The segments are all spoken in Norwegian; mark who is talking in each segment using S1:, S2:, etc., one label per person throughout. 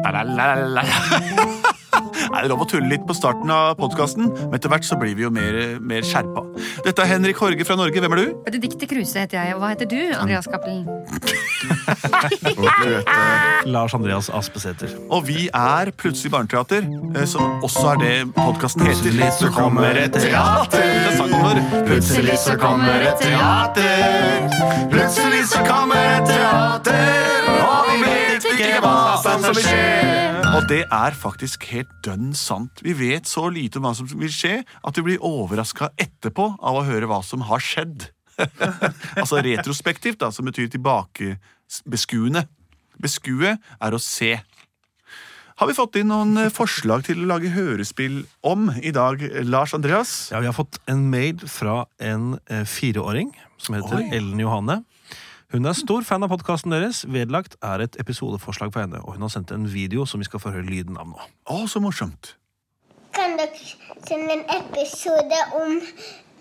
S1: La-la-la-la-la. Er det lov å tulle litt på starten av podkasten, men etter hvert så blir vi jo mer, mer skjerpa. Dette er Henrik Horge fra Norge. Hvem er du?
S2: Benedicte Kruse heter jeg. Og hva heter du, Andreas Cappelen?
S3: Lars Andreas Aspesæter.
S1: Og vi er Plutselig barneteater, eh, som også er det podkasten heter.
S3: Plutselig så kommer et teater.
S1: Det er sangen vår.
S2: Plutselig så kommer et
S3: teater. Plutselig så kommer et teater, og vi vet ikke hva som vil skje.
S1: Og det er faktisk helt dønn sant. Vi vet så lite om hva som vil skje, at vi blir overraska etterpå av å høre hva som har skjedd. altså retrospektivt, da, som betyr tilbakebeskuende. Beskue er å se. Har vi fått inn noen eh, forslag til å lage hørespill om i dag, Lars Andreas?
S3: Ja, Vi har fått en mail fra en eh, fireåring som heter
S1: Oi.
S3: Ellen Johanne. Hun er stor fan av podkasten deres. Vedlagt er et episodeforslag på henne, og hun har sendt en video som vi skal få høre lyden av nå.
S1: Å, så morsomt.
S4: Kan dere sende en episode om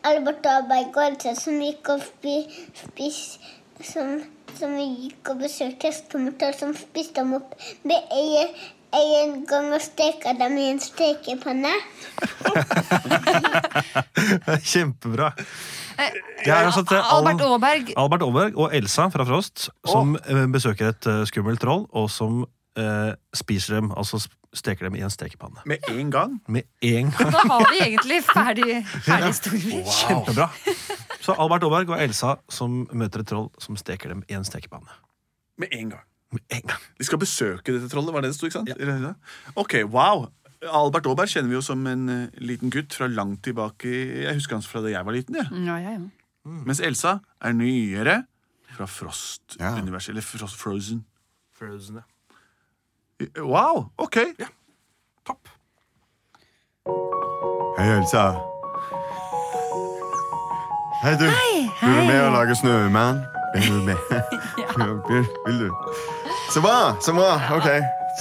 S4: Albert Abergaard som gikk og spi, spis, som, som gikk og besøkte hestemotor som spiste dem opp med en, en gang og steka dem i en stekepanne?
S3: Kjempebra.
S2: Eh,
S3: Jeg har altså til Al-
S2: Albert Aaberg.
S3: Albert Aaberg og Elsa fra Frost, som eh, besøker et eh, skummelt troll, og som eh, spiser dem, altså sp- steker dem i en stekepanne.
S1: Med en gang?
S3: Med en gang.
S2: Da har vi egentlig ferdig, ferdig historier.
S3: Kjempebra. Så Albert Aaberg og Elsa som møter et troll som steker dem i en stekepanne.
S1: Med en gang.
S3: Med en gang.
S1: De skal besøke dette trollet, var det det sto? ikke sant? Eller- Ok, wow. Albert Aaberg kjenner vi jo som en eh, liten gutt fra langt tilbake. i- Jeg husker han fra da jeg var liten. jeg.
S2: Ja, ja, ja.
S5: Mm.
S1: Mens Elsa er nyere fra Frost-universet. Eller Frost Frozen.
S3: Frozen,
S1: Wow, ok.
S3: Topp.
S5: Hei, Elsa. Hei, du. Vil du med og lage snømann? Vil du med? vil, vil du? Så bra, så bra. Ok.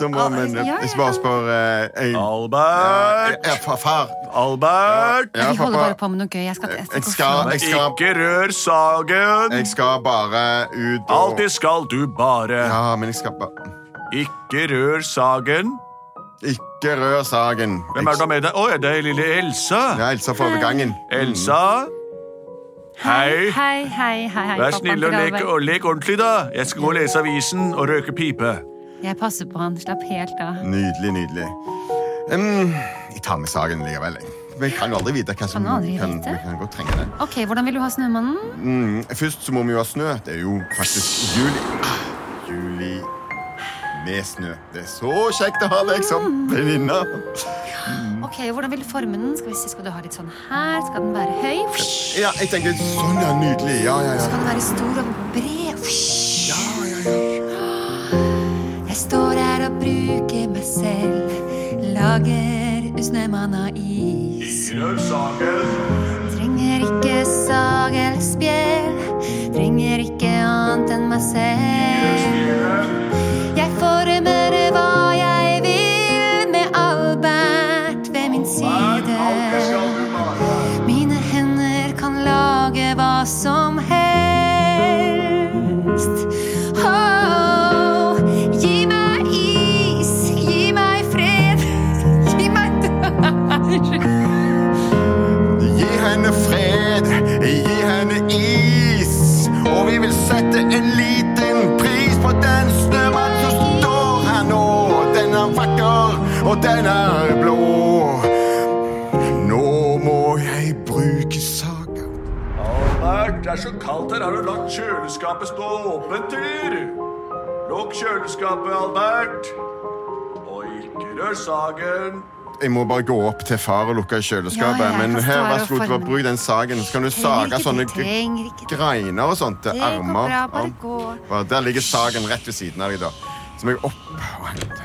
S5: Så bra, men
S2: Ja, ja,
S5: jeg bare spør eh, jeg,
S1: Albert!
S5: ja, far, far.
S1: Albert!
S5: Ja,
S2: Vi holder bare
S5: pappa.
S2: på med noe gøy. Jeg skal, jeg skal,
S5: Jeg skal, jeg skal,
S1: Ikke rør sagen!
S5: jeg skal bare ut og
S1: Alltid skal du bare.
S5: Ja, men jeg skal bare
S1: Ikke rør sagen.
S5: Ikke rør sagen.
S1: Hvem er det du har med deg? Å, ja, det er lille Elsa.
S5: Ja, Mm. Elsa får over gangen.
S1: Elsa. Hei.
S2: Hei, hei, hei, hei.
S1: Vær
S2: pappaen
S1: snill og
S2: til
S1: lek,
S2: Albert.
S1: og lek ordentlig, da. Jeg skal gå og lese avisen og røyke pipe.
S2: Jeg passer på han. Slapp helt av.
S5: Mm, Nydelig, nydelig. Ehm, jeg tar med sagen likevel. jeg. Men jeg kan jo aldri vite hva som
S2: Kan aldri
S5: kan,
S2: vite.
S5: vi kan godt trenge det.
S2: Ok, Hvordan vil du ha Snømannen?
S5: Mm, først så må vi jo ha snø. Det er jo faktisk juli. Ah, Juli med snø. Det er så kjekt å ha deg som venninne.
S2: Ok, Hvordan vil du forme den? Skal vi se, skal du ha litt sånn her? Skal den være høy? Skal
S5: Ja, jeg tenker sånn er nydelig. Ja, ja, ja.
S2: den være stor og bred? Jeg står her og bruker meg selv. Lager snømann av is. Trenger ikke sag eller spjeld. Trenger ikke annet enn meg selv. Jeg former hva jeg vil med Albert ved min side. Mine hender kan lage hva som helst. Åh, Oh, gi meg is, gi meg fred, gi meg dør.
S5: Gi henne fred, gi henne is. Og vi vil sette en liten pris på den snømannen som står her nå. Den er vakker, og den er blå. Nå må jeg bruke saga.
S1: Albert, det er så kaldt her. Har du lagt kjøleskapet stå åpent, eller? Lukk kjøleskapet, Albert. Og ikke rør sagen.
S5: Jeg må bare gå opp til far og lukke kjøleskapet.
S2: Ja, ja, jeg
S5: men
S2: kan stå
S5: her,
S2: her
S5: vær
S2: og
S5: så god,
S2: forme.
S5: bare bruk den sagen. Så kan du
S2: Trenger
S5: sage
S2: ikke
S5: sånne
S2: det, trenger ikke det.
S5: greiner og sånt til
S2: Det går
S5: armer.
S2: bra, bare
S5: Ja.
S2: gå.
S5: Ja, Der ligger sagen rett ved siden av deg, da. Så må jeg opp og hente.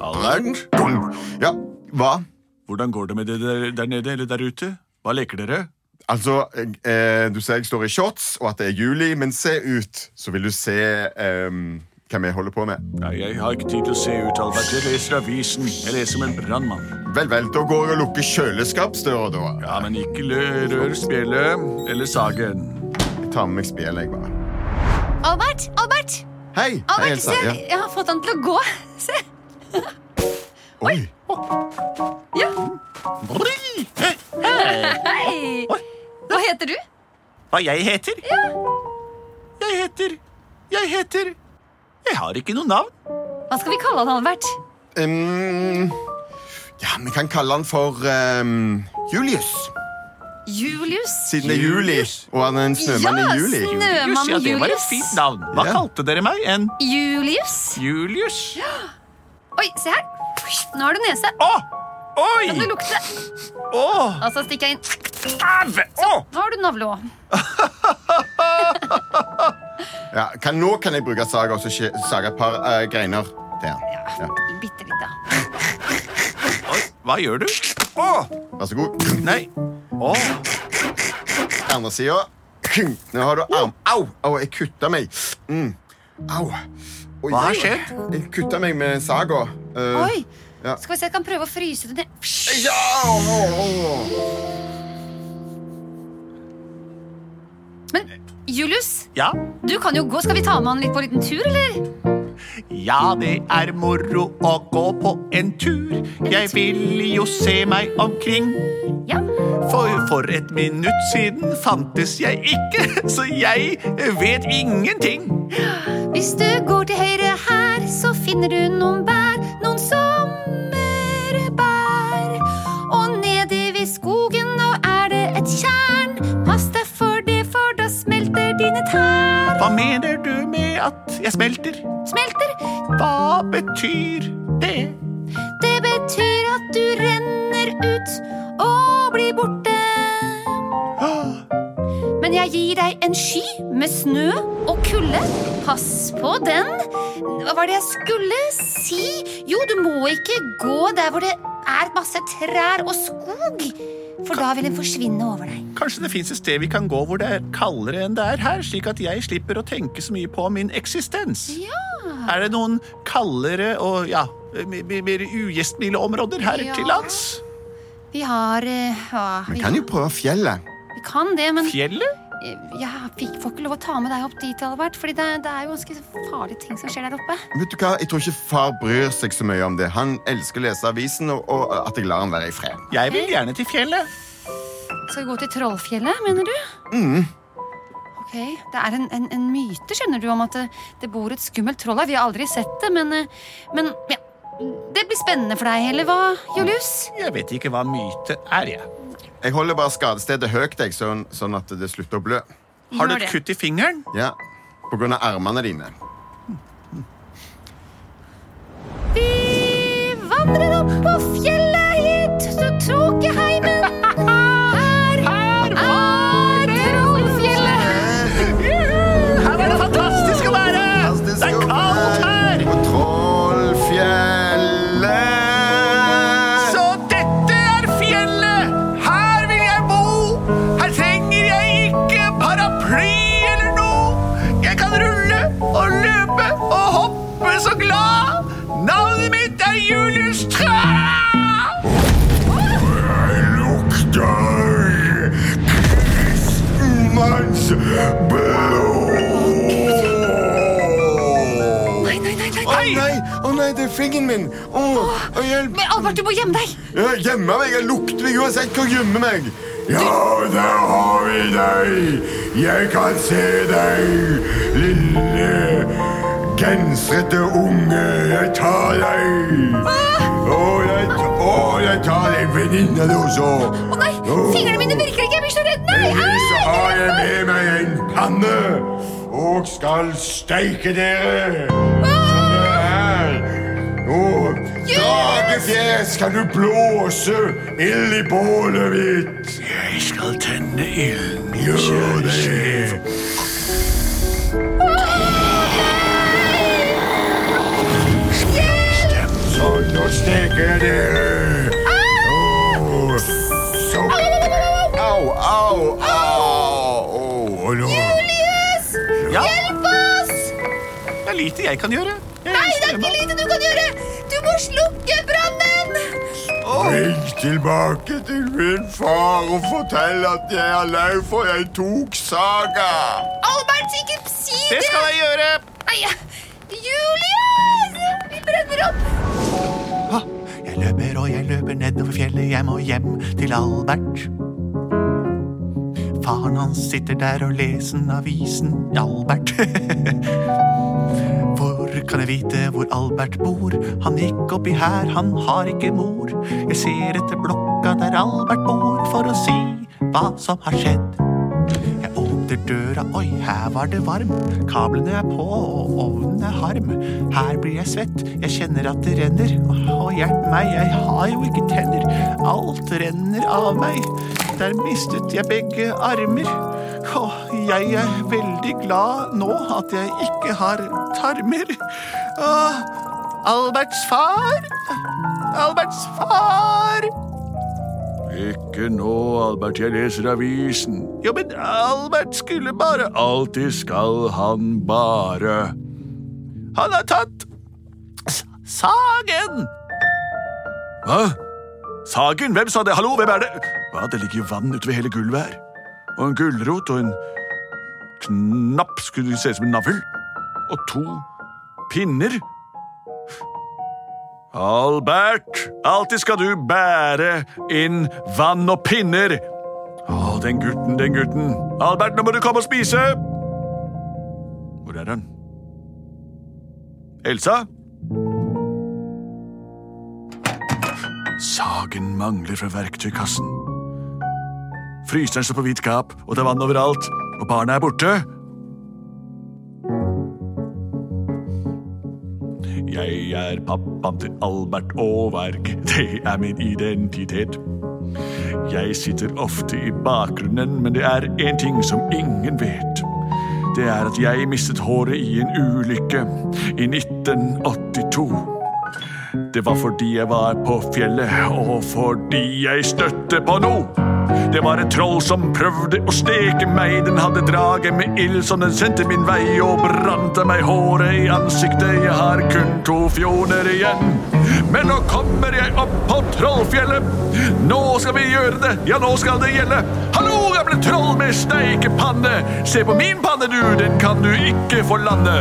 S1: Albert?
S5: Ja, hva?
S1: Hvordan går det med det der, der nede, eller der ute? Hva leker dere?
S5: Altså, eh, du ser jeg står i shorts, og at det er juli, men se ut, så vil du se eh, hva vi holder på med.
S1: Nei, jeg har ikke tid til å se ut, Albert. Jeg leser avisen. Jeg leser som en brannmann.
S5: Vel, vel, da går jeg og lukker kjøleskapsdøra, da.
S1: Ja, men ikke lø- rør spjeldet eller sagen.
S5: Jeg tar med meg spjeldet, jeg, bare.
S2: Albert! Albert!
S5: Hei!
S2: Å,
S5: Hei,
S2: men
S5: Elsa.
S2: se,
S5: Ja.
S2: jeg har fått han til å gå. Se.
S5: Oi!
S2: Ja.
S1: Brrr. Eh,
S2: Hei. Hva heter du?
S1: Hva jeg heter? Jeg heter Jeg heter Jeg har ikke noe navn.
S2: Hva skal vi kalle han, Albert?
S5: Um, ja, vi kan kalle han for um, Julius.
S2: Julius?
S5: Siden det er juli, og han er en snømann i juli.
S2: Ja,
S1: Julius, ja,
S2: Snømann
S1: det var et
S2: Julius.
S1: fint navn. Hva
S5: Ja.
S1: kalte dere meg? En
S2: Julius.
S1: Julius?
S2: Oi, se her. Nå har du nese.
S1: Å!
S2: Kan du
S1: Oi!
S2: lukte?
S1: Å!
S2: Og så stikker Altså, jeg inn.
S1: Av! Å!
S2: Nå har du navle òg.
S5: Ja, kan, nå kan jeg bruke saga og så skje- sage et par eh, greiner. Der. Ja.
S2: Bitte litt, da.
S1: Oi, Hva gjør du? Å!
S5: Vær så god.
S1: Nei. Å!
S5: Andre sida. Nå har du arm... Au! Au, jeg kutta meg. Mm. Au. Oi,
S1: Hva har skjedd?
S5: Jeg kutta meg med saga. Eh,
S2: Oi.
S5: Ja.
S2: Skal vi se, jeg kan prøve å fryse det ned.
S5: Ja!
S2: Men Julius,
S1: Ja.
S2: du kan jo gå. Skal vi ta med han litt på en liten tur, eller?
S1: ja, det er moro å gå på en tur. Jeg vil jo se meg omkring.
S2: Ja.
S1: For, for et minutt siden fantes jeg ikke, så jeg vet ingenting.
S2: Hvis du går til høyre her, så finner du noen bær. Noen sommerbær. Og nede ved skogen nå er det et tjern. Pass deg for det, for da smelter dine tær.
S1: Hva mener du med at jeg smelter?
S2: Smelter,
S1: Hva betyr det?
S2: det betyr at du renner ut og blir borte. Men jeg gir deg en sky med snø og kulde. Pass på den. Hva var det jeg skulle si? Jo, du må ikke gå der hvor det er masse trær og skog. For da vil den forsvinne over deg.
S1: Kanskje det fins et sted vi kan gå hvor det er kaldere enn det er her, slik at jeg slipper å tenke så mye på min eksistens?
S2: Ja.
S1: Er det noen kaldere og ja, mer, mer ugjestmilde områder her
S2: Ja.
S1: til lands?
S2: Vi har eh, ja,
S5: Vi
S2: vi,
S5: kan jo prøve fjellet.
S2: vi kan det, men
S1: Fjellet?
S2: eh, jeg fikk, får ikke lov å ta med deg opp dit, Albert. Fordi det, det er jo ganske farlige ting som skjer der oppe.
S5: Vet du hva? Jeg tror ikke far bryr seg så mye om det. Han elsker å lese avisen, og, og at jeg lar han være i fred.
S1: Jeg vil gjerne til fjellet.
S2: Skal vi gå til Trollfjellet, mener du?
S6: Mm.
S2: Ok, Det er en, en, en myte skjønner du, om at det, det bor et skummelt troll her. Vi har aldri sett det, men, eh, men ja, Det blir spennende for deg, eller hva, Julius?
S1: Jeg vet ikke hva myte er, jeg.
S5: Jeg holder bare skadestedet høyt, jeg, sånn, sånn at det slutter å blø.
S1: Har du
S2: Gjør
S1: et
S2: det.
S1: kutt i fingeren?
S5: Ja, På grunn av armene dine.
S2: Vi vandrer opp på fjellet i t- tåkeheimen. Her, er Trollfjellet.
S1: Her er det fantastisk å være!
S5: Fantastisk
S1: Det er
S5: å
S1: kaldt
S5: være
S1: her!
S5: På Trollfjellet.
S1: Så dette er fjellet! Her vil jeg bo! Her trenger jeg ikke paraply eller noe! Jeg kan rulle og løpe og hoppe så glad! Navnet mitt er Julius Træ!
S5: Jeg lukter kristenmanns blod.
S2: Nei, nei, nei, nei.
S5: Å nei, å nei, det er fingeren min. Å, å, hjelp.
S2: Men Albert, du må gjemme deg.
S5: Jeg gjemmer meg. Jeg lukter meg uansett hvor jeg gjemmer meg. Ja, der har vi deg. Jeg kan se deg, lille gensrete unge. Jeg tar deg.
S2: Ah!
S5: Å, jeg, å, jeg tar deg, venninna di også.
S2: Å nei, fingrene mine virker ikke. Jeg blir så redd. Nei,
S5: Heldigvis så
S2: au!
S5: har jeg med meg en panne og skal steike dere. Som det er. Og dragefjes, kan du blåse ild i bålet mitt? Jeg skal tenne ilden. Gjør det. Sånn, nå steker dere. Åh, Så Au, au, au! Åh, nå.
S1: Ja,
S2: Hjelp oss!
S1: det er lite jeg kan gjøre.
S2: Nei, det er ikke lite du kan gjøre! Du må slukke brannen!
S5: Ring tilbake til min far og fortell at jeg er lei for jeg tok saga.
S2: Albert, ikke si
S1: Det
S2: det!
S1: skal jeg gjøre.
S2: Nei, Oi! Julius! Vi brenner opp!
S6: Ha! Jeg løper og jeg løper nedover fjellet, jeg må hjem til Albert. Faren hans sitter der og leser avisen Albert. Hvor kan jeg vite hvor Albert bor? Han gikk oppi her, han har ikke mor. Jeg ser etter blokka der Albert bor, for å si hva som har skjedd. Jeg åpner døra, oi, her var det varm. Kablene er på, og ovnen er harm. Her blir jeg svett, jeg kjenner at det renner. Å, hjelp meg, jeg har jo ikke tenner. Alt renner av meg. Der mistet jeg begge armer. Å, jeg er veldig glad nå at jeg ikke har tarmer. Å, Alberts far! Alberts far!
S1: Ikke nå, Albert, jeg leser avisen.
S6: Ja, men Albert skulle bare
S1: Alltid skal han bare
S6: Han har tatt s- sagen!
S1: Hva?
S6: Sagen? Hvem sa det? Hallo, hvem er det? Hva, det ligger vann utover hele gulvet her. Og en gulrot og en knapp skulle det se ut som en navl. Og to pinner.
S1: Albert, alltid skal du bære inn vann og pinner. Å, den gutten, den gutten. Albert, nå må du komme og spise.
S6: Hvor er han?
S1: Elsa?
S6: Sagen mangler fra verktøykassen. Fryseren står på vidt gap, og det er vann overalt. Og barna er borte.
S1: Jeg er pappaen til Albert Aaberg. Det er min identitet. Jeg sitter ofte i bakgrunnen, men det er én ting som ingen vet. Det er at jeg mistet håret i en ulykke i 1982. Det var fordi jeg var på fjellet, og fordi jeg støtte på noe. Det var et troll som prøvde å steke meg. Den hadde draget med ild som den sendte min vei, og brante meg håret i ansiktet. Jeg har kun to fjoner igjen. Men nå kommer jeg opp på Trollfjellet. Nå skal vi gjøre det, ja, nå skal det gjelde. Hallo, gamle troll med steikepanne. Se på min panne, du, den kan du ikke få lande.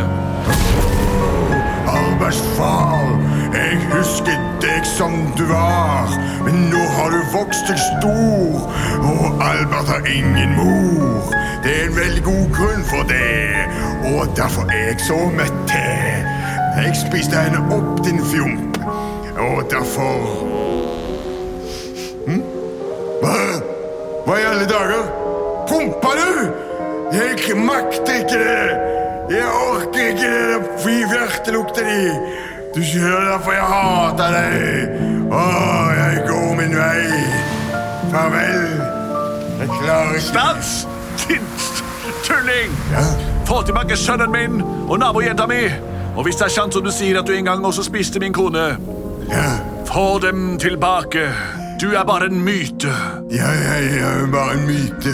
S5: Albers far, jeg husket deg som du var. Men nå har du vokst deg stor, og Albert har ingen mor. Det er en veldig god grunn for det, og derfor er jeg så mett til. Jeg spiste henne opp, din fjomp, og derfor hm? Hva? Hva i alle dager? Prompa du? Jeg makter ikke det! Jeg orker ikke det der fyrvertelukten i. Du skjønner derfor jeg hater deg. Å, jeg går min vei. Farvel. Jeg klarer ikke
S1: Stans! Din tulling! Få tilbake sønnen min og nabojenta mi. Og hvis det er sant som du sier at du en gang også spiste min kone,
S5: Ja,
S1: få dem tilbake. Du er bare en myte.
S5: ja, ja, ja, hun er bare en myte.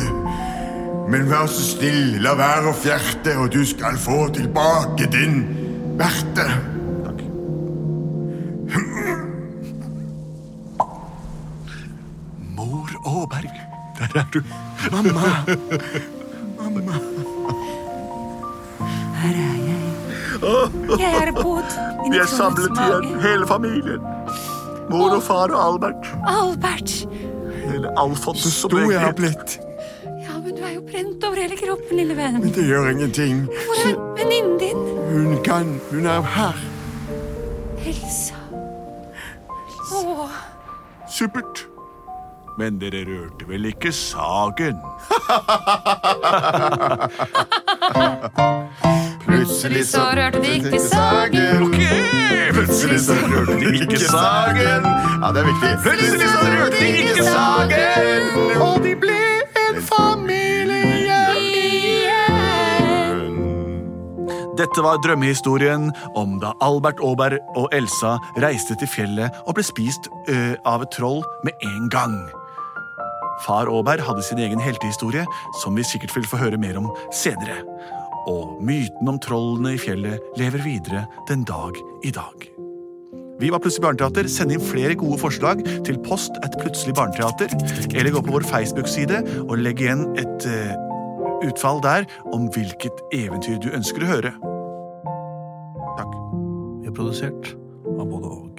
S5: Men vær så snill, la være å fjerte, og du skal få tilbake din verte.
S6: Mor Aaberg. Der er du.
S2: Her er jeg. Jeg er båt inni
S6: Vi er samlet igjen, hele familien. Mor og far og Albert.
S2: Albert!
S6: Eller Alfons. som
S5: Stor
S6: jeg
S5: jeg har
S6: heter.
S5: blitt.
S2: Ja, men du er jo brent over hele kroppen, lille venn.
S5: Men det gjør ingenting.
S2: Hvor er venninnen din?
S5: Hun kan Hun er her.
S2: Elsa. Åh,
S6: Supert. Men dere rørte vel ikke sagen?
S5: Plutselig
S2: så rørte de ikke sagen.
S5: Ok. Plutselig så rørte de ikke sagen. Ja, det er viktig.
S2: Plutselig så rørte de ikke sagen,
S5: og de ble en familie
S2: igjen.
S6: Dette var drømmehistorien om da Albert Aaberg og Elsa reiste til fjellet og ble spist ø, av et troll med en gang. Far Aaberg hadde sin egen heltehistorie, som vi sikkert vil få høre mer om senere. Og myten om trollene i fjellet lever videre den dag i dag. Vi var Plutselig barneteater. Send inn flere gode forslag til post at plutselig barneteater, eller gå på vår Facebook-side og legg igjen et eh, utfall der om hvilket eventyr du ønsker å høre.
S1: Takk.
S3: Vi er produsert av både og.